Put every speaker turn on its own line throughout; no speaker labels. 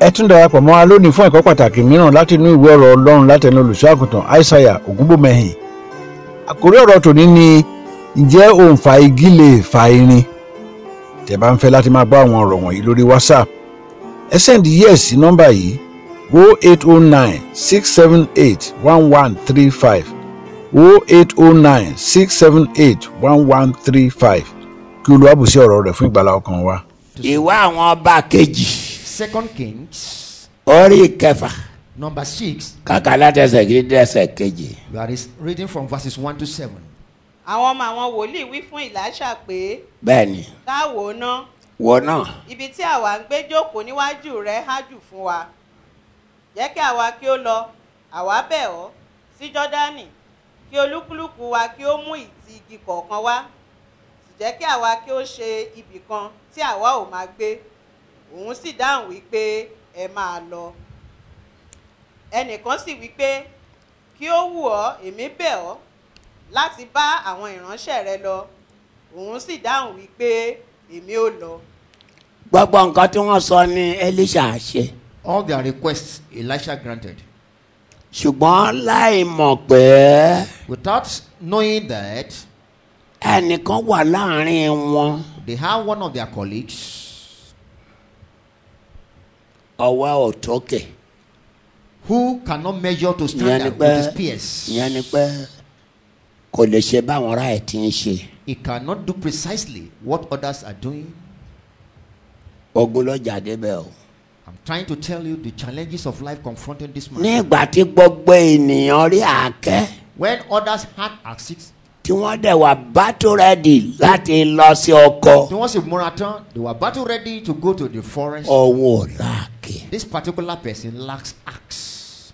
ẹ tún darapọ̀ mọ́ wa lónìí fún ẹ̀kọ́ pàtàkì mìíràn láti inú ìwé ọ̀rọ̀ ọlọ́run látẹnu olùṣọ́àgùntàn aishaiya ògúnbòmẹ́hìn àkórí ọ̀rọ̀ tòní ni ǹjẹ́ òǹfà igi lè fa irin tẹ́ bá ń fẹ́ láti máa gbọ́ àwọn ọ̀rọ̀ wọ̀nyí lórí whatsapp ẹ sẹ́ndí yes sí nọ́mbà yìí 0809 678 1135 0809 678 1135 kí olúwa bùsí ọ̀rọ̀ rẹ̀ fún ìgbàlá ọkàn wa.
ìwé àwọn ọba kejì
Second Kings,
orí kẹfà
number 6,
kàkà látẹsẹ̀ kí dẹ́sẹ̀ kejì.
we are is- reading from verses 1 to 7.
àwọn ọmọ àwọn wòlíì wí fún ìlàṣà pé
bẹ́ẹ̀ni
káwo ná
wo náà
ibi tí àwa ń gbé jókòó níwájú rẹ há jù fún wa jẹ́ kí àwa kí ó lọ àwa bẹ̀ ọ́ sí jọ́dánì kí olúkúlùkù wa kí ó mú ìtì igi kọ̀ọ̀kan wá sì jẹ́ kí àwa kí ó ṣe ibì kan tí àwa ò máa gbé òun sì dáhùn wípé ẹ máa lọ ẹnìkan sì wípé kí ó wù ọ́ èmi bẹ̀ ọ́ láti bá àwọn ìránṣẹ́ rẹ lọ òun sì dáhùn wípé èmi ò lọ.
gbogbo nǹkan tí wọ́n sọ ní elisha ṣe
All their requests Elisha granted.
ṣùgbọ́n láì mọ̀ pé
Without knowing that,
ẹnìkan wà láàrin wọn
they have one of their colleagues
ọwọ́ òtókè
who cannot measure to
ìyẹn ni pé
standard with his peers.
ìyẹn ni pé kò lè ṣe báwọn ará ẹ̀ ti ń ṣe
He cannot do precisely what others are doing.
ogun ló jáde bẹ́ẹ̀ o.
I'm trying to tell you the challenges of life confronting this man.
ní ìgbà tí gbogbo ènìyàn rí àáké
When others had access,
tí wọ́n dẹ̀ wà battle ready láti lọ sí ọkọ
there was a marathon. They were battle ready to go to the forest.
òun ò láàké
This particular person lacks axe,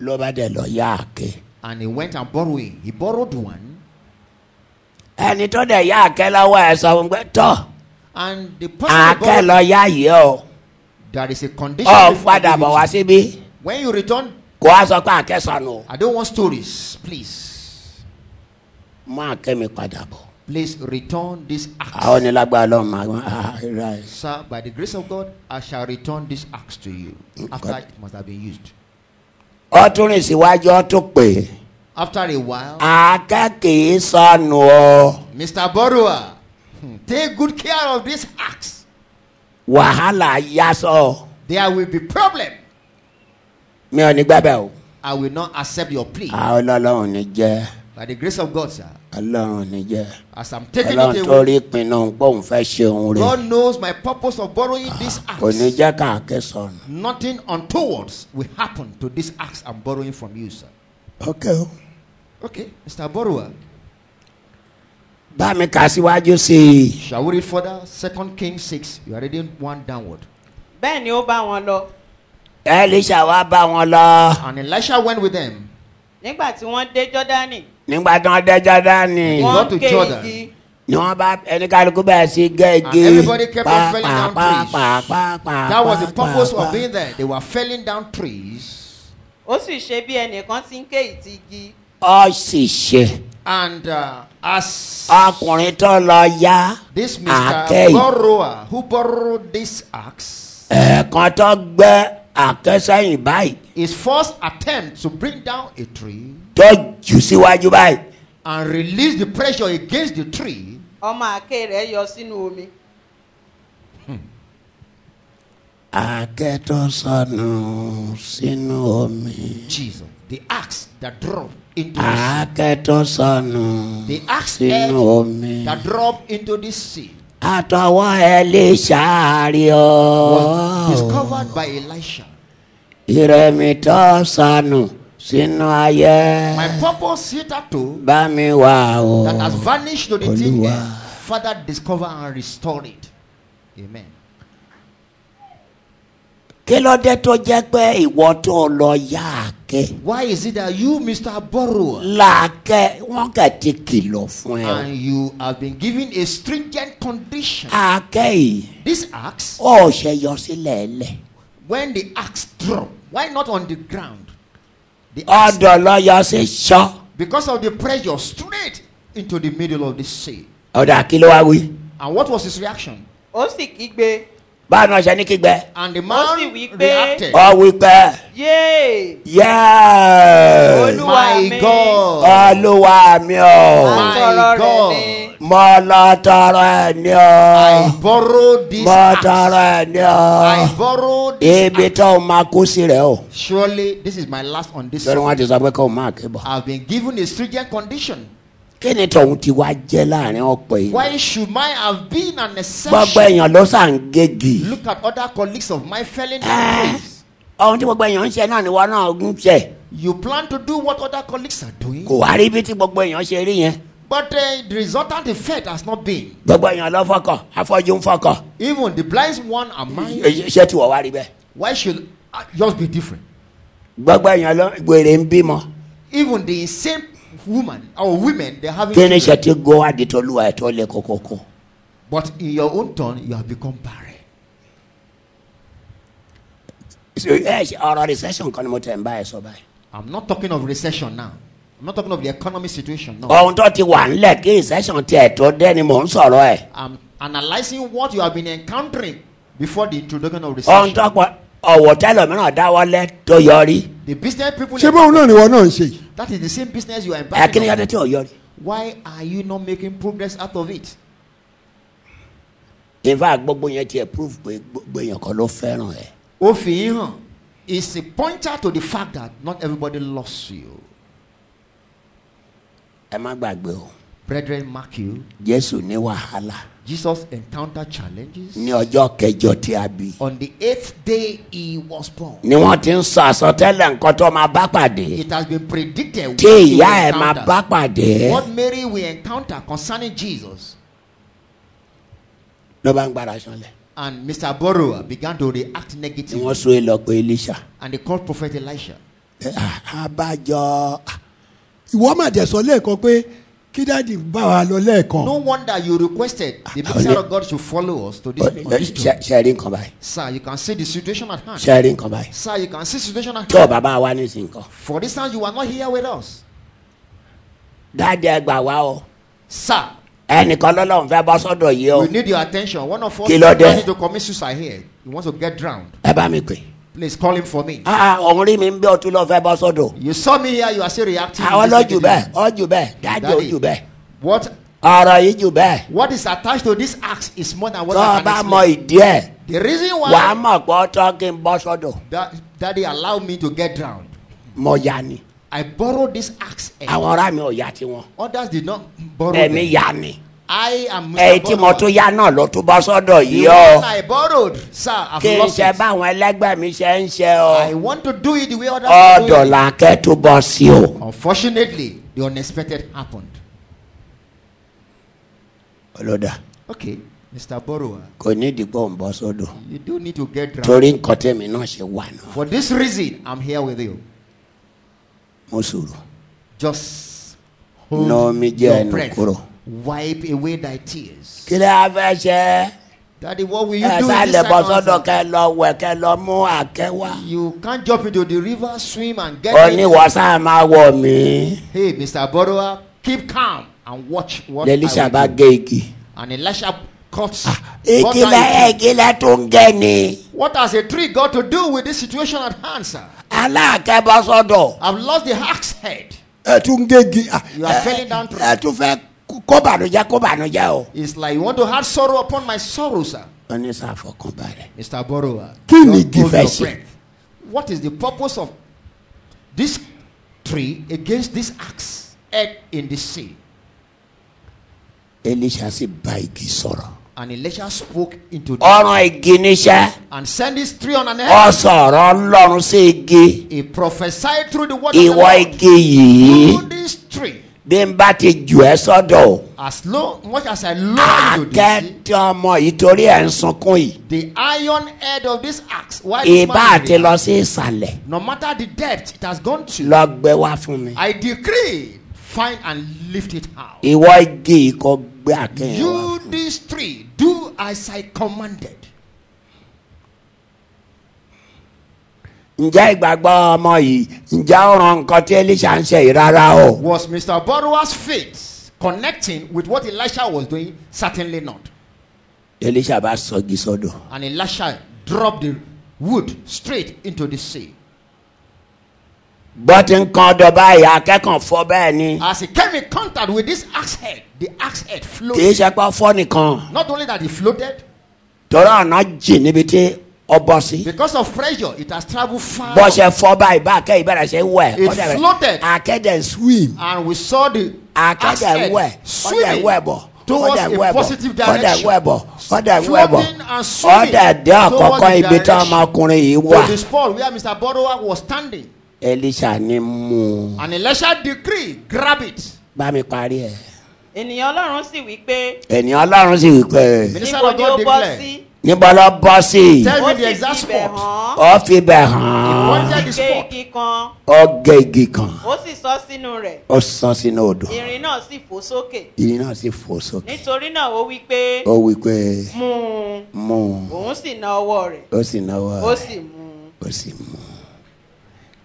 ló bá dẹ̀ lọ yá àáké.
and he went and borrowing. He borrowed one,
ẹni tó dẹ̀ yá àáké lọ́wọ́ ẹ̀ sọ fún pé tọ́
and the person he
àáké
borrowed,
lọ yá yìí o
there is a condition.
ọ
before
padà
you
bọ̀
use
wá
it.
síbí
When you return,
kó wá sọ pé àáké sọnù o.
I don't want stories. Please,
mú àáké mi padà bọ̀.
please return this axe.
àwọn onílágbára lọ́wọ́ máa ń ah, right.
Sir, by the grace of God, I shall return this axe to you after
God.
it must have been used.
ọ tún rìn síwájú ọ tún pè é.
After a while,
àáké kì í sọnù o
Mr. Borrower, hmm, take good care of this axe.
wàhálà yá sọ ọ.
There will be problem.
mi ò ní gbẹ́bẹ̀ o.
I will not accept your plea.
a ọlọ́run ní jẹ́
By the grace of God, sir,
ọlọ́run ní jẹ́
as I'm taking
ọlọ́run
it
tó rí
away,
ìpinnu bóun fẹ́ ṣe òun rè
God knows my purpose of borrowing this
kò ní
axe.
jẹ́ káàkiri sọnù.
Nothing untowards will happen to this axe I'm borrowing from you, sir.
ok o.
Okay, Mr. Borrower,
bá mi kà síwájú sí i.
shall we read further? Second Kings 6, you are reading one downward.
bẹ́ẹ̀ ni ó bá wọn lọ
elisha wá bá wọn lọ.
And Elisha went with them.
nígbà tí wọ́n dé jọ́dánì
nígbà tí wọ́n dẹ́jọ́ dání
Wọ́n-
wọ́n
got to
gé
Jordan.
igi
ni wọ́n bá ẹnikálukú bẹ̀rẹ̀ sí gẹ́gẹ́.
And everybody kept on falling down trees. That was the purpose of being there. They were felling down trees,
ó sì ṣe bí ẹnìkan ti ń ké ìtì igi
ọ sì ṣe
and uh, as
ọkùnrin tó lọ yá
this
àáké
Mr.
yìí
Borrower who borrowed this axe,
ẹ̀ẹ̀kan tó gbẹ́ àáké sẹ́yìn báyìí
his first attempt to bring down a tree
tó jù síwájú báyìí
and release the pressure against the tree,
ọmọ àáké rẹ̀ yọ sínú omi
àáké tó sọnù sínú omi
Jesus, the axe that dropped into the sea,
àáké tó sọnù
the axe edge
sínú omi
that dropped into the sea
àtọwọ́ Èlíṣà rí ọ
was discovered by Elisha.
ìrẹ̀mí tó sọnù sínú ayé
My purpose hitherto
bá mi wà o
that has vanished to the thin
Olúwa.
air, Father, discover and restore it. Amen.
kí ló dé tó jẹ́ pé ìwọ tó lọ yá àáké
Why is it that you, Mr. Borrower,
làáké wọ́n kàn ti kìlọ̀ fún ẹ o
and you have been given a stringent condition?
àáké yìí
This axe,
ó ṣe yọ sílẹ̀ lẹ̀.
when the axe drop, why not on the ground? The axe,
ọ̀dọ̀ lọ yọ sí sọ.
because of the pressure, straight into the middle of the sea.
ọ̀dà kí ló wá wí.
And what was his reaction?
ó sì kígbe
báwo ni wọ́n ṣe ní kígbẹ́
And the
Ó sì
man
wí pé-
reacted,
ọ wípé
yéè
yẹ́ẹ̀
Olúwa
My
mi.
God,
olúwa mi
My
ò
àtọ̀rọ̀ rẹ̀
God.
ni
mọ lọ tọrọ ẹ ní
I
ọ
borrowed this
mọ
axe.
tọrọ ẹ ní
I
ọ
borrowed this
ibi tó o máa kú sí rẹ o
axe. Surely this is my last on this
lórí wọn
subject.
ti sọ pé kó o máa kébọ.
I've been given a stringent condition.
kí ni tòun ti wá jẹ́ láàrin ọ̀pọ̀ èèyàn
Why should mine have been an
gbogbo
exception?
èèyàn ló sàn gègì
Look at other colleagues of mine felling
Ah.
in praise.
ohun tí gbogbo èèyàn ń ṣe náà ni wọn náà ń ṣe
You plan to do what other colleagues are doing,
kò wá rí bí tí gbogbo èèyàn ṣe rí yẹn
but uh, the resultant effect has not been.
gbogbo èèyàn ló fọkọ afọjú ń fọkọ
Even the blind one among you.
ṣé tí wọ́n wá rí bẹ́ẹ̀
Why should uh, yours be different?
gbogbo èèyàn ló gbèrè ń bímọ
Even the insane woman or women, they're having
kí ni ṣe
children,
tí gbó wá di tolúwa ẹ̀ tó lé kókókó
but in your own turn, you have become barren.
Ṣé- ẹ ṣe- ọ̀rọ̀ recession kan ni mo tẹ̀ ń bá ẹ sọ báyìí
I'm not talking of recession now. I'm not talking of the economic situation now.
ohun tó ti wà ńlẹ̀ kí recession tiẹ̀ tó dé ni mò ń sọ̀rọ̀ ẹ̀
I'm analyzing what you have been encountering before the introduction of
ohun
recession.
tó pọ̀ ọ̀wọ̀ tẹ́lọ̀míràn dáwọ́lé tó yọrí
the business people.
ṣé bóun náà ni wọn náà ń ṣe yìí.
that is the same business you are embarking
akínyẹ̀dẹ́
on.
tí ò yọrí.
Why are you not making progress out of it?
in fact gbogbo yẹn tiẹ̀ proof pé gbogbo èèyàn kan ló fẹ́ràn ẹ̀.
Ó fi yín hàn. It's a pointer to the fact that not everybody loves you.
ẹ má gbàgbé o
Brethren, mark you.
jésù ní wàhálà
Jesus encountered challenges.
ní ọjọ́ kẹjọ tí a bí.
On the eighth day he was born.
ni wọ́n ti ń sọ àsọtẹ́lẹ̀ nǹkan tó máa bá pàdé
It has been predicted what
tí
he will
ìyá ẹ̀ máa
encounter.
bá pàdé
What Mary will encounter concerning Jesus.
ló bá ń gbára sanlẹ̀.
And Mr. Borrower began to react
tí wọ́n
negatively.
so é lọ pé elisha
And they called Prophet Elisha.
ẹ, ah, abájọ ah,
ìwọ mà dẹ̀ sọ lẹ́ẹ̀kan pé kí dáàdi bá wa lọ lẹ́ẹ̀kan.
No wonder you requested the messenger of God to follow us to this.
ọ,
on
ẹ,
this
ṣe-
journey.
ṣe rí nǹkan báyìí
Sir, you can see the situation at hand.
ṣe rí nǹkan báyìí
Sir, you can see situation at
tí ò
hand.
bàbá wa ní sí nǹkan.
For this time, you are not here with us.
dáadé ẹ gbà wá o
Sir,
ẹnìkan lọ́lọ́run fẹ́ bọ́ sọ́dọ̀ yìí o
we need your attention. One of us
Kí ló dé?
planning to commit suicide here. He wants to get drowned.
ẹ bá mi pè.
Please call him for me.
Ah, ah, òun rí mi ń bí ọtún lọ fẹ́ bọ́ sọ́dọ̀.
You saw me here, you are still reacting.
àwọn
in this
lọ́jù bẹ́ẹ̀ ọjù
negative.
bẹ́ẹ̀ dájú
Daddy,
ojú bẹ́ẹ̀
What,
ọ̀rọ̀ yìí jù bẹ́ẹ̀
what is attached to this axe is more than what
tó
I
o bá
can
mọ
explain.
ìdí ẹ̀
The reason
wà á
why
mọ̀ pé ọtọ́ kí n bọ́ sọ́dọ̀
that, that they allowed me to get drowned,
mọ ya ni
I borrowed this axe. and
àwọn ọ̀rá mi ò ya tiwọn
Others did not borrow
ẹ̀mí
them.
ya ni
I am
ẹ̀yìn tí mo
Borrower.
tún ya náà ló tún bọ́ sọ́dọ̀
The
yìí
one
o
I borrowed, sir, I've
kí n
lost
ṣe
it.
báwọn ẹlẹ́gbẹ́ mi ṣe ń ṣe o
I want to do it the way others are
ọ̀dọ̀
doing. it.
làákẹ́ tún bọ́ sí o
Unfortunately, the unexpected happened.
olódà
Okay, Mr. Borrower,
kò ní ìdìbò ń bọ́ sọ́dọ̀
you do need to get drowned.
torí nǹkan tẹ̀mí náà ṣe wà náà
For this reason, I'm here with you.
mo sùúrù
Just hold
No, mi jẹ́
Oh, your
ẹnu
breath.
kúrò.
Wipe away thy tears.
kí lè fẹ́ ṣe é.
Daddy, what will you
ẹ
do
sá
in
lè
this
bọ sọdọ
circumstance?
kẹ lọ wẹ kẹ lọ mú àkẹ wá.
You can't jump into the river, swim, and get
ó
it.
ní wọ́sà máa wọ̀ mí.
Hey, Mr. Borrower, keep calm and watch what I
lẹ́lísà
will
bá
do.
gé igi.
And Elisha cuts.
Ah,
what,
igi lẹ
has,
igi lẹ tó ń gẹ ni.
what has a tree got to do with this situation at hand, sir?
aláàkẹ́ bọ́ sọ́dọ̀.
I've lost the axe head.
ẹ tún gégi.
You are falling down through.
ẹ tún fẹ́ kó bànújẹ́ kó bànújẹ́ o.
It's like you want to add sorrow upon my sorrow, sir.
wọ́n ní sàfọkànbalẹ̀.
Mr. Borrower.
Kí ni
just hold your
gífẹ́ ṣe?
breath. What is the purpose of this tree against this axe head in the sea?
elisa sì bá igi sọ̀rọ̀.
And Elisha spoke into the
ọ̀ràn igi níṣẹ́
and sent this tree on an
ọ
head.
sọ̀rọ̀ ńlọrun sí igi
He prophesied through the word of the
ìwọ
Lord.
igi yìí
Through this tree,
bí n bá ti jù ẹ sọ́dọ̀ o.
as low much as I lower you to the sea,
akẹ́tọ̀ ọmọ yìí torí ẹ̀ ń sunkún yìí.
the iron head of this axe why this
ìbá
man is
àti
here,
lọ sí ìsàlẹ̀
no matter the depth it has gone to
lọ gbé wá fún mi.
i decree find and lift it out
ìwọ igi yìí kò gbé àkẹ́yìn wá
you
fún mi.
these three do as i commanded
ǹjẹ́ ìgbàgbọ́ ọmọ yìí ǹjẹ́ ó ran nǹkan tí elisha ń ṣe yìí rárá o.
was mr borrower's faith connecting with what elisha was doing certainly not
elisha bá sọgi sọdọ
And Elisha dropped the wood straight into the sea.
bọ́tí nǹkan ọdọ báyìí akẹ́kọ̀ọ́ fọ́ bẹ́ẹ̀ ni
As he came in contact with this axe head, the axe head
kìí
floated.
ṣe pé fọ́ nìkan
Not only that, it floated,
tọ́lá ọ̀nà jìn níbi tí ọ bọ́ sí
because of pressure, it has traveled far.
bọ́ ṣe fọ́ báyìí bá akẹ́ ìbẹ̀rẹ̀ ṣe ń wẹ̀
It floated.
akẹ́dẹ̀ swim
And we saw the
Ah,
axe
akẹ́dẹ̀ ń wẹ̀
head
ọ̀dẹ̀ ń
swimming
wẹ̀ bọ̀
towards
ọ̀dẹ̀ ń
a
wẹ̀ bọ̀
positive
ọ̀dẹ̀ ń
direction.
wẹ̀ bọ̀ ọ̀dẹ̀ ń wẹ̀ bọ̀
Floating and swimming
ọ̀dẹ̀ dé
towards
àkọ́kọ́
the
ibi tí
direction
ọmọkùnrin yìí wà
To the spot where Mr. Borrower was standing.
elisha ni mú un
And Elisha decreed, grab it.
bá mi parí ẹ̀
ènìyàn ọlọ́run sì wí pé
ènìyàn ọlọ́run sì wí pé
Minister
níbo
of
ni ó
God
bọ́
declared.
sí
níbo lọ bọ́ sí i
ó
Tell me
sì
the exact
fi ibẹ̀
spot.
hàn
ó fi bẹ̀ hàn
Pointed the
gé
spot.
igi kan
ó gé igi kan
ó sì sọ sínú rẹ̀
ó sọ sínú odò
irin náà sì fò sókè
ìyìn náà sì fò sókè
nítorí náà ó wí pé
ó wí pé
mú un
mú un
òun sì na ọwọ́ rẹ̀
ó sì náwó
ó
rẹ̀.
sì mú un.
ó sì mú un.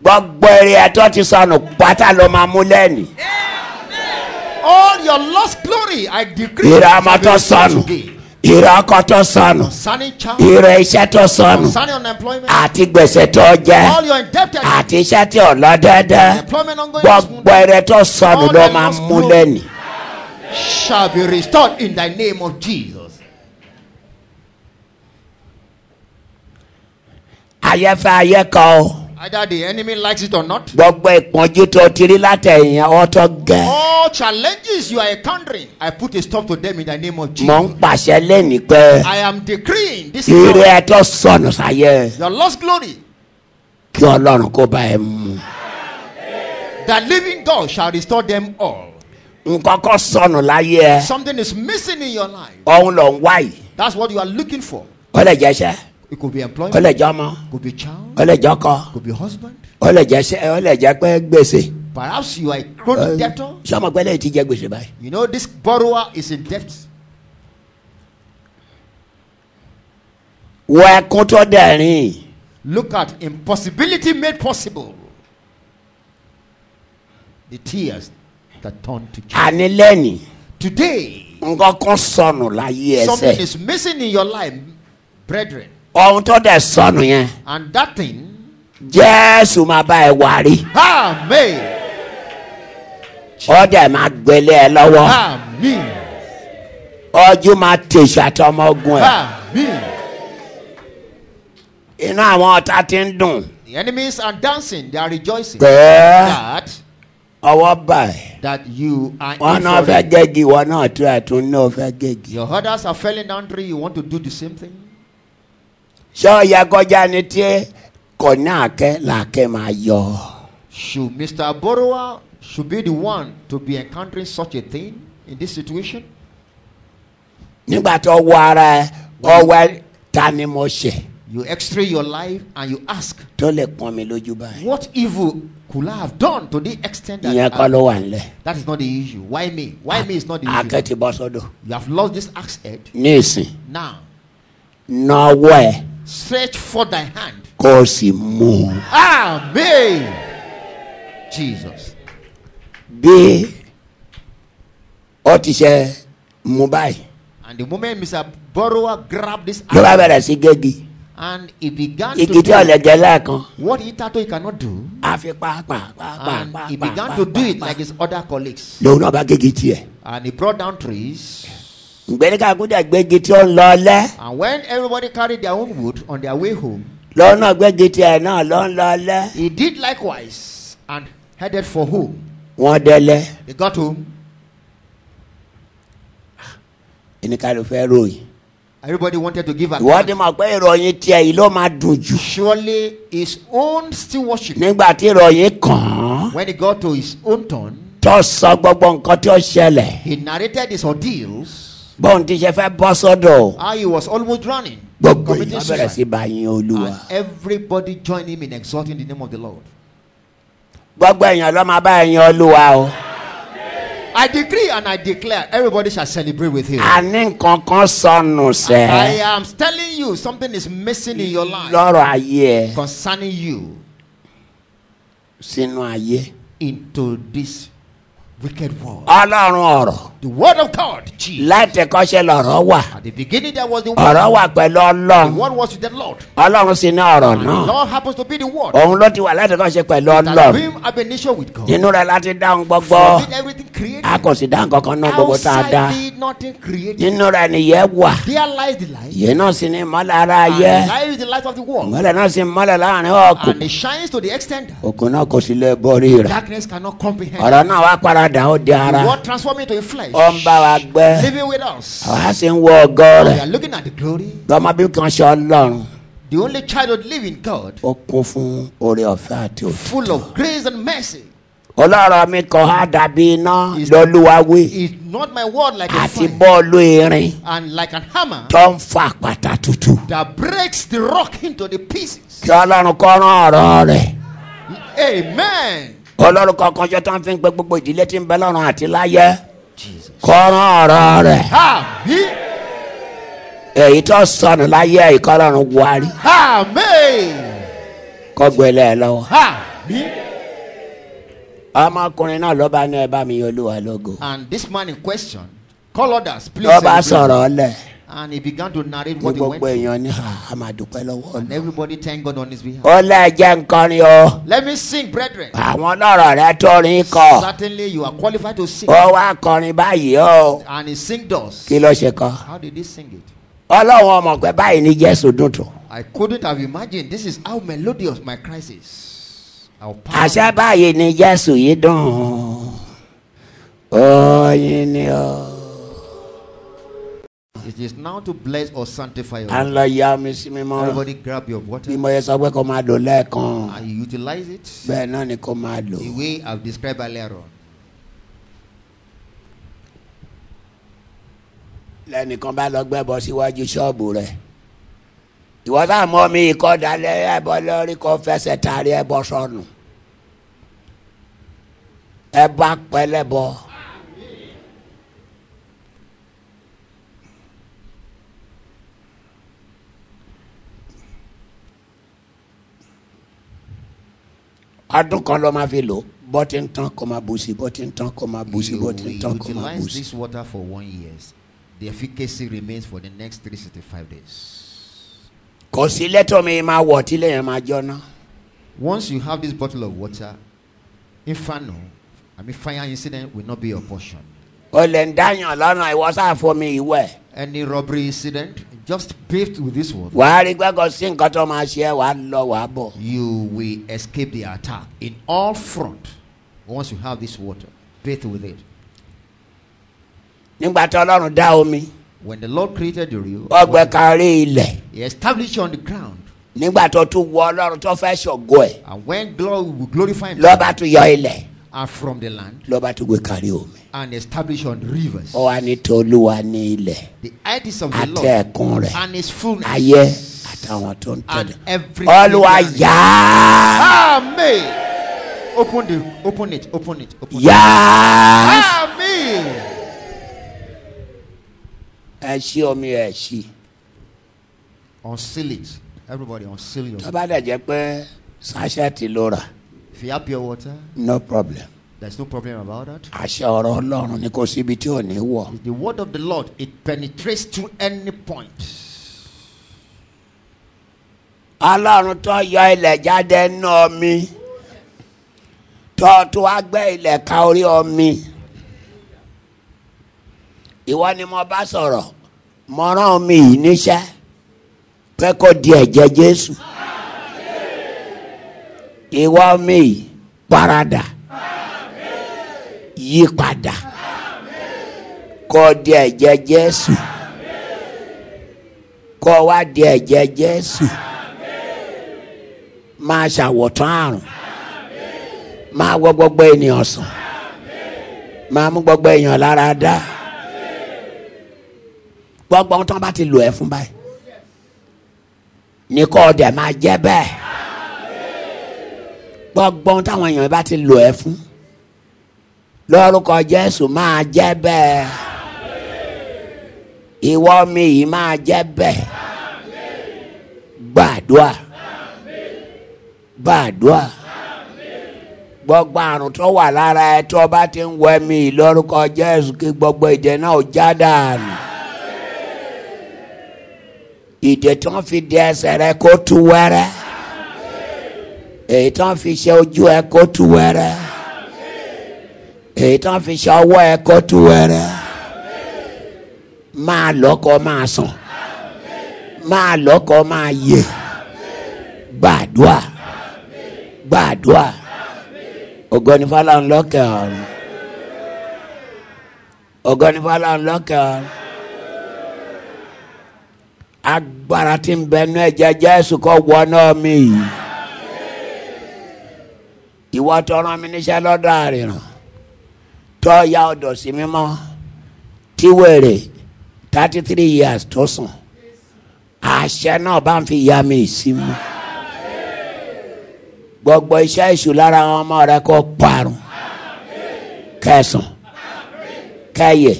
gbogbo eré ẹtọ́ ti sọnù pátá ló máa mú lẹ́nu
All your lost glory, I decree.
ìrẹ
shall
ọmọ
be
tó
restored
sọnù
today.
ìrẹ ọkọ tó sọnù
Concerning child,
ìrẹ iṣẹ́ tó sọnù
concerning unemployment,
àti gbèsè tó jẹ
all your indebtedness,
àti iṣẹ́ tí ò lọ dẹ́dẹ́
employment ongoing this
gbogbo
month
eré tó sọnù ló máa mú lẹ́nu.
shall be restored in the name of Jesus.
ayẹfẹ ayẹkọ o
Either the enemy likes it or not,
gbogbo ìpọ́njú tó ti rí látẹ̀yìn ọtọ́ gẹ́.
all challenges you are encountering, I put a stop to them in the name
mo
of
ń
Jesus.
pàṣẹ lẹ́nu pé
I am decreeing this
eré
glory,
ẹtọ́ sọnù sáyẹ
your lost glory,
kí ọlọ́run kó bá ẹ mú.
the living God shall restore them all.
nǹkan kan sọnù láyé ẹ
Something is missing in your life.
ọ̀hún ló ń wá yìí
That's what you are looking for.
ó lè jẹ́sẹ́
It could be
ó
employment,
lè jọmọ
could be child,
ó lè jọkọ
could be husband.
ó lè jẹ́sẹ́ ó lè jẹ́ pé gbèsè.
Perhaps you are a
Uh,
chronic debtor.
sọmọ gbẹ́lẹ́ ti jẹ gbèsè báyìí.
You know, this borrower is in debt.
wọ ẹkún tó dẹ̀rín
Look at impossibility made possible. The tears that turn to joy.
àní lẹ́nì
Today,
nǹkan kan sọnù láyé ẹsẹ̀
something is missing in your life, brethren.
ọ̀hún tó dẹ̀ sọnù yẹn
And that thing,
jésù máa bá ẹ wárí
Amen.
ó dẹ̀ máa gbélé ẹ lọ́wọ́
Amen.
ọjọ́ máa tèṣù àtọmọ ogun ẹ
Amen.
inú àwọn ọ̀tá ti ń dùn
The enemies are dancing, they are rejoicing.
pẹ́ẹ́
That
ọwọ́ báyìí.
that you are
wọn
in
náà
for
fẹ́
it.
gẹgì wọn náà tún ẹtún náà fẹ́ gẹgì.
Your others are falling down tree. You want to do the same thing?
ṣé ọ̀yà kọjá ni tí kò ní àkẹ́ làkẹ́ máa yọ.
Should Mr. Borrower should be the one to be encountering such a thing in this situation?
nígbà tó wọ ara ẹ ọwọ́ ẹ, ta ni mo ṣe
You X-ray your life and you ask,
tó lè pọn mi lójú báyìí.
what evil could I have done to the extent that
ìyẹn kọ́ ló wà nílẹ̀.
that is not the issue? Why me? Why me is not the
àkẹ́
issue?
ti bọ́ sọ́dọ̀.
You have lost this axe head.
ní ìsìn
Now
na ọwọ́ ẹ
stretch forth thy hand.
kó o sì mú un.
Amen. Jesus.
bí ó ti ṣe mú báyìí
And the moment Mr. Borrower grabbed this
ló bá
axe
bẹ̀rẹ̀ sí gẹ́gì.
and he began
igi
to
tí
do
ọ̀lẹ́gẹ́ lẹ́ẹ̀kan
what he thought he cannot do,
a fi pàápàá pàápàá
and he began Ah, to do it
pàápàá
like his other colleagues.
lòun náà bá gẹ́gì tiẹ̀.
And he brought down trees.
gbẹ̀ríkà kúndà gbẹ́gi tí ó ń lọ lẹ́
And when everybody carried their own wood on their way home,
lọ́nà gbẹ́gi tí ẹ̀ náà ló ń lọ lẹ́
he did likewise and headed for home.
wọ́n dẹ́lẹ́
They got home.
ẹnìkanlẹ̀ fẹ́ ròyìn.
Everybody wanted to give
ìwọ́n ti mọ̀
account.
pé ìròyìn tiẹ̀ yìí ló máa dùn jù
Surely his own stewardship.
nígbà tí ìròyìn kàn án
When he got to his own turn,
tó sọ gbogbo nǹkan tí ó ṣẹlẹ̀
he narrated his ordeals,
bóun ti ṣe fẹ́ bọ́ sọ́dọ̀
how he was almost drowning,
gbogbo yìí
committing
wọ́n bẹ̀rẹ̀ sí
suicide.
bá yín olúwa
And everybody joined him in exalting the name of the Lord.
gbogbo èèyàn ló máa bá ẹ̀yin olúwa o
I decree and I declare everybody shall celebrate with him.
a ní nǹkan kan sọnù sẹ́
I am telling you, something is missing in your life
lọ́rọ̀ ayé ẹ̀
concerning you
sínú ayé
into this wicked world.
ọlọ́run ọ̀rọ̀
The word of God, Jesus.
láti kọ́ṣẹ́ lọ̀rọ̀ wà
At the beginning there was the word.
ọ̀rọ̀ wà pẹ̀lú
The
ọlọ́run
word was with the Lord.
ọlọ́run sì ní ọ̀rọ̀
And the
náà
Lord happens to be the word.
òun ló ti wà láti kọ́ṣẹ́ pẹ̀lú
That
ọlọ́run
him have been nature with God.
inú rẹ̀ láti dáhùn gbogbo
From it everything created.
a kò sì dáhùn kankan náà gbogbo tá a dá
Outside it nothing created.
inú rẹ̀ nìyẹn wà
There lies the light.
yìí náà sì ní mọ́lẹ̀ ara
And
yẹ
the light is the light of the world.
mọ́lẹ̀ náà sì mọ́lẹ̀ láàrin ọ̀kùn
And it shines to the extent that
òkun náà kò sì lè borí rẹ̀
darkness cannot comprehend.
ọ̀rọ̀ náà wá paradà ó di
The
ara
word transformed into a flesh.
ó ń bá wa gbẹ́
Living with us.
àwa sì ń wo ọgọ́
We
rẹ̀
are looking at the glory.
lọ́mọbí kan ṣe ọlọ́run
The only child of living God.
ó kún fún oore ọ̀fẹ́ àti òtún.
Full of grace and mercy.
ọlọ́run mi kọ́ á dàbí iná lọ́lúwawé
Is not my word like a
àti
fire.
bọ́ọ̀lù irin
And like an hammer.
tó ń fa pàtà tutù.
that breaks the rock into the pieces.
kí ọlọ́run kọ́ rán ọ̀rọ̀ rẹ̀
Amen.
ọlọ́run kọ̀ọ̀kan jọ tó ń fi ń pe gbogbo ìdílé tí ń bẹ lọ́run àti láyé
Jesus.
kọ́ rán ọ̀rọ̀ rẹ̀
Amen.
èyí tó sọnù láyé yìí kọ́ ọlọ́run wárí
Amen.
kọ́ gbélé ẹ e lọ́wọ́.
Amen.
ọmọkùnrin náà ló bá ní ẹ bá mi yọ olúwa lógo
And this man in question called us, please.
ló bá
celebrate.
sọ̀rọ̀ ọlẹ̀
And he began to narrate
ní
what he went
gbogbo
through.
èèyàn ní "Ah, a máa dúpẹ́ lọ́wọ́
And
ọ̀nà.
everybody thank God on his behalf.
ọlẹ́ jẹ́ nǹkan ni o
Let me sing, brethren.
àwọn ọlọ́rọ̀ rẹ tó rí kọ́
Certainly you are qualified to sing.
ó wá kọrin báyìí o
And he sing thus.
kí ló ṣe kọ́
How did he sing it?
ọlọ́run ọmọ pé báyìí ní jésù dùn tó
I couldn't have imagined. This is how melodious my crisis. How
àṣẹ
powerful.
báyìí ní jésù yìí dùn oyin ni o
It is now to bless or sanctify your
à ń lọ ya omi sí mímọ́
Everybody grab your water
bí mo yẹ sọ pé kó máa lò lẹ́ẹ̀kan
and you utilize it
bẹ́ẹ̀ náà ni kó máa lò
the way I've described earlier on.
lẹ́nìkan bá lọ gbẹ́bọ síwájú ṣọ́ọ̀bù rẹ̀ ìwọ sáà mọ mi ikọ́ dalẹ̀ ẹbọ lórí kó fẹsẹ̀ taari ẹbọ sọnù ẹbọ apẹlẹbọ. ọdún kan ló máa fi lò bọ́tí ń tán kó máa bù sí bọ́tí ń tán kó máa bù sí
You
bọ́tí ń
will
tán kó máa bù
utilize
sí.
this water for one year. The efficacy remains for the next 365 days.
kò sí lẹ́tọ̀ mi máa wọ̀ tí lèèyàn máa jóná.
Once you have this bottle of water, inferno, I mean fire incident will not be your portion.
o lè ń dáyàn lọ́nà ìwọ sáfomi ìwẹ̀
Any robbery incident, just bathed with this water,
wàá rí gbẹ́kọ̀ sí nǹkan tó máa ṣe ẹ́ wàá lọ wàá bọ̀.
you will escape the attack in all front. Once you have this water, bathed with it.
nígbà tí ọlọ́run dá omi
When the Lord created the river,
ọgbẹ́ kárí ilẹ̀
He established you on the ground.
nígbà tó tún wọ ọlọ́run tó fẹ́ ṣògo ẹ̀
And when glory will glorify him
lọ́ba tún yọ ilẹ̀
are from the land
lọ́ba tún gbé kárí omi.
and establish on rivers
ó wá ní tolúwa ní ilẹ̀
the edges of the
àti
Lord
ẹ̀kún rẹ̀
and his fullness.
ayé àtàwọn tó ń
And
tẹ̀lé.
everything
olúwa
therein.
yá
Amen. Open the open it, open it, open
yá
it. Amen.
ẹ ṣí omi ẹ ṣí.
Unseal it. Everybody unseal your
tó bá dẹ̀ jẹ́ pé sáṣẹ́ẹ̀tì ló rà
if you have pure water,
no problem.
there's no problem about that.
àṣẹ ọ̀rọ̀ ọlọ́run ni kò síbi tí ò ní wọ̀.
It's the word of the Lord, it penetrates to any point.
ọlọ́run tó yọ ilẹ̀ jáde nínú omi tó tó wá gbẹ́ ilẹ̀ ka orí omi. ìwọ ni mo bá sọ̀rọ̀ mo rán omi yìí níṣẹ́ pé kó di ẹ̀jẹ̀ jésù. ìwọ omi yìí paradà yí padà kó di ẹ̀jẹ̀ jésù kó wá di ẹ̀jẹ̀ jésù máa ṣàwọ̀tán àrùn máa wọ gbogbo ènìyàn sàn máa mú gbogbo èèyàn lára dá gbogbo ohun tí wọn bá ti lò ẹ fún báyìí ní kó o dẹ̀ máa jẹ́ bẹ́ẹ̀ gbogbo ohun táwọn èèyàn bá ti lò ẹ fún lórúkọ jésù máa jẹ́ bẹ́ẹ̀ ìwọ mi yìí máa jẹ́ bẹ́ẹ̀ gbàdúrà gbàdúrà gbogbo àrùn tó wà lára ẹ tó bá ti ń wọ ẹmí lórúkọ jésù kí gbogbo ìdè náà ó já dànù ìdè tó ń fi di ẹsẹ̀ rẹ kó tu wẹ́rẹ́ èyí tó ń fi ṣe ojú ẹ kó tu wẹ́rẹ́ èyí tó ń fi ṣe ọwọ́ ẹ kó tu wẹ́rẹ́ máa lọ́kọ máa sùn máa lọ́kọ máa yè gbàdúà gbàdúà ògọ́nifálà ńlọ́kẹ̀ ọ̀run ògọ́nifálà ńlọ́kẹ̀ ọ̀run agbára tí ń bẹnu ẹ̀jẹ̀ jésù kọ wọnà mi yìí ìwọ tó rán mi níṣẹ́ lọ́dọ̀ àrìràn tó ya ọ̀dọ̀ sí mímọ́ tí wèrè thirty three years tó sùn àṣẹ náà bá ń fi ya mi sí mu gbogbo iṣẹ́ ìṣù lára àwọn ọmọ rẹ kó parun kẹsàn kẹyẹ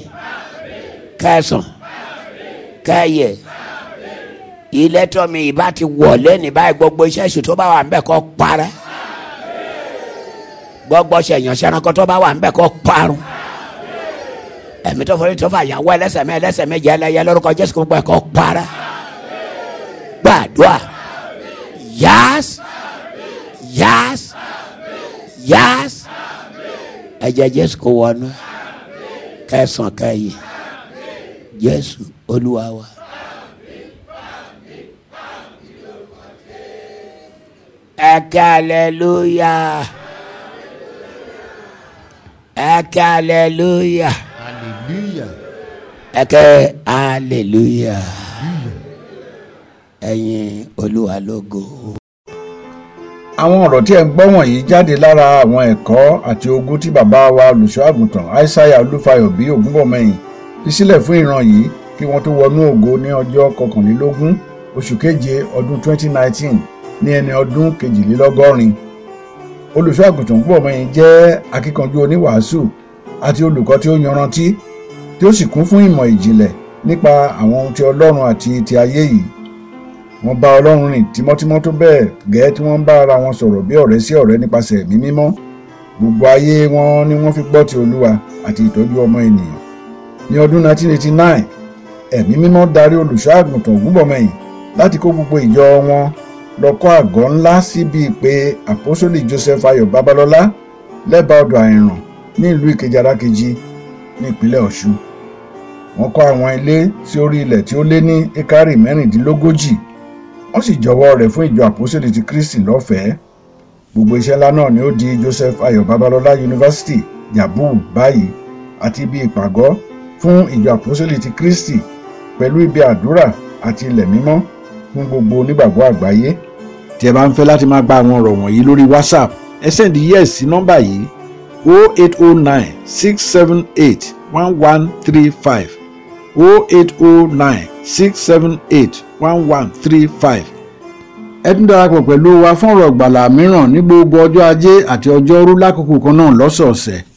kẹsàn kẹyẹ ilé tó mi ìbá ti wọlé ní báyìí gbogbo iṣẹ́ ìṣù tó bá wà ńbẹ̀ kó parẹ́ gbogbo ṣèyàn ṣẹranko tó bá wà ńbẹ̀ kó parun ẹ̀mí tó forí tó fà yàwó ẹlẹ́sẹ̀ mẹ́ ẹlẹ́sẹ̀ méje ẹlẹ́yẹ lórúkọ jésù gbogbo ẹ̀ kó parẹ́ gbàdúrà yáás yáás yáás ẹ̀jẹ̀ jésù kò wọnú kẹsàn kẹyìn jésù olúwa wa. Hallelujah. Hallelujah.
Hallelujah.
Ẹkẹ hallelujah. Ẹyin Olúwa lógo.
àwọn ọ̀rọ̀ tí ẹ̀ ń gbọ́ wọ̀nyí jáde lára àwọn ẹ̀kọ́ àti ogun tí bàbá wa olùṣọ́àgùntàn aishaiya olúfayọ bí ògúnbọ̀mọyìn fi sílẹ̀ fún ìran yìí kí wọ́n tó wọnú ògo ní ọjọ́ kọkànlélógún oṣù keje ọdún 2019 ní ẹni ọdún kejìlélọ́gọ́rin olùṣọ́àgùntàn ògúnbọ̀mọyìn jẹ́ akíkanjú oníwàásù àti olùkọ́ tí ó yanrantí tí ó sì kún fún ìmọ̀ ìjìnlẹ̀ nípa àwọn ohun ti ọlọ́run àti ti ayé yìí wọ́n bá ọlọ́run rìn tímọ́tímọ́ tó bẹ́ẹ̀ gẹ́ẹ́ tí wọ́n ń bá ara wọn sọ̀rọ̀ bí ọ̀rẹ́ sí ọ̀rẹ́ nípasẹ̀ ẹ̀mí mímọ́ gbogbo ayé wọn ni wọ́n fi gbọ́ ti olúwa àti ìtọ́jú ọmọ ènìyàn ní ọdún 1989 ẹ̀mí mímọ́ darí olùṣọ́ àgùntàn ògúnbọ̀mọyìn láti kó gbogbo ìjọ wọn lọ kọ́ àgọ́ ńlá síbi ìpè àpọ́sólì joseph ayọ̀ babalọ́lá lẹ́bàá ọ̀dọ̀ àìràn ní ìlú ìkejì arákejì ní ìpínlẹ̀ ọ̀ṣun wọ́n kọ́ àwọn ilé sí orí ilẹ̀ tí ó lé ní ekari mẹ́rìndínlógójì wọ́n sì jọwọ́ rẹ̀ fún ìjọ àpòsílẹ̀ ti kristi lọ́fẹ̀ẹ́ gbogbo iṣẹ́ ńlá náà ni ó di joseph ayọ̀ babalọ́lá yunifásitì yabu báyìí àti ibi ìpàgọ́ fún ìjọ àpòsílẹ̀ ti kristi pẹ̀lú ibi àdúrà àti ilẹ̀ mímọ́ fún gbogbo onígbàgbọ́ àgbáyé. tí ẹ bá ń fẹ́ láti máa gba àwọn ọ̀rọ̀ wọ̀nyí lórí whatsapp ẹ sẹ́ndí yes sí nọ́mbà yìí 0809 678 1135 08096781135. ẹ tún darapọ̀ pẹ̀lú wa fún ọ̀rọ̀ ìgbàlà mìíràn ní gbogbo ọjọ́ ajé àti ọjọ́ rú lákòókò kan náà lọ́sọ̀ọ̀sẹ̀.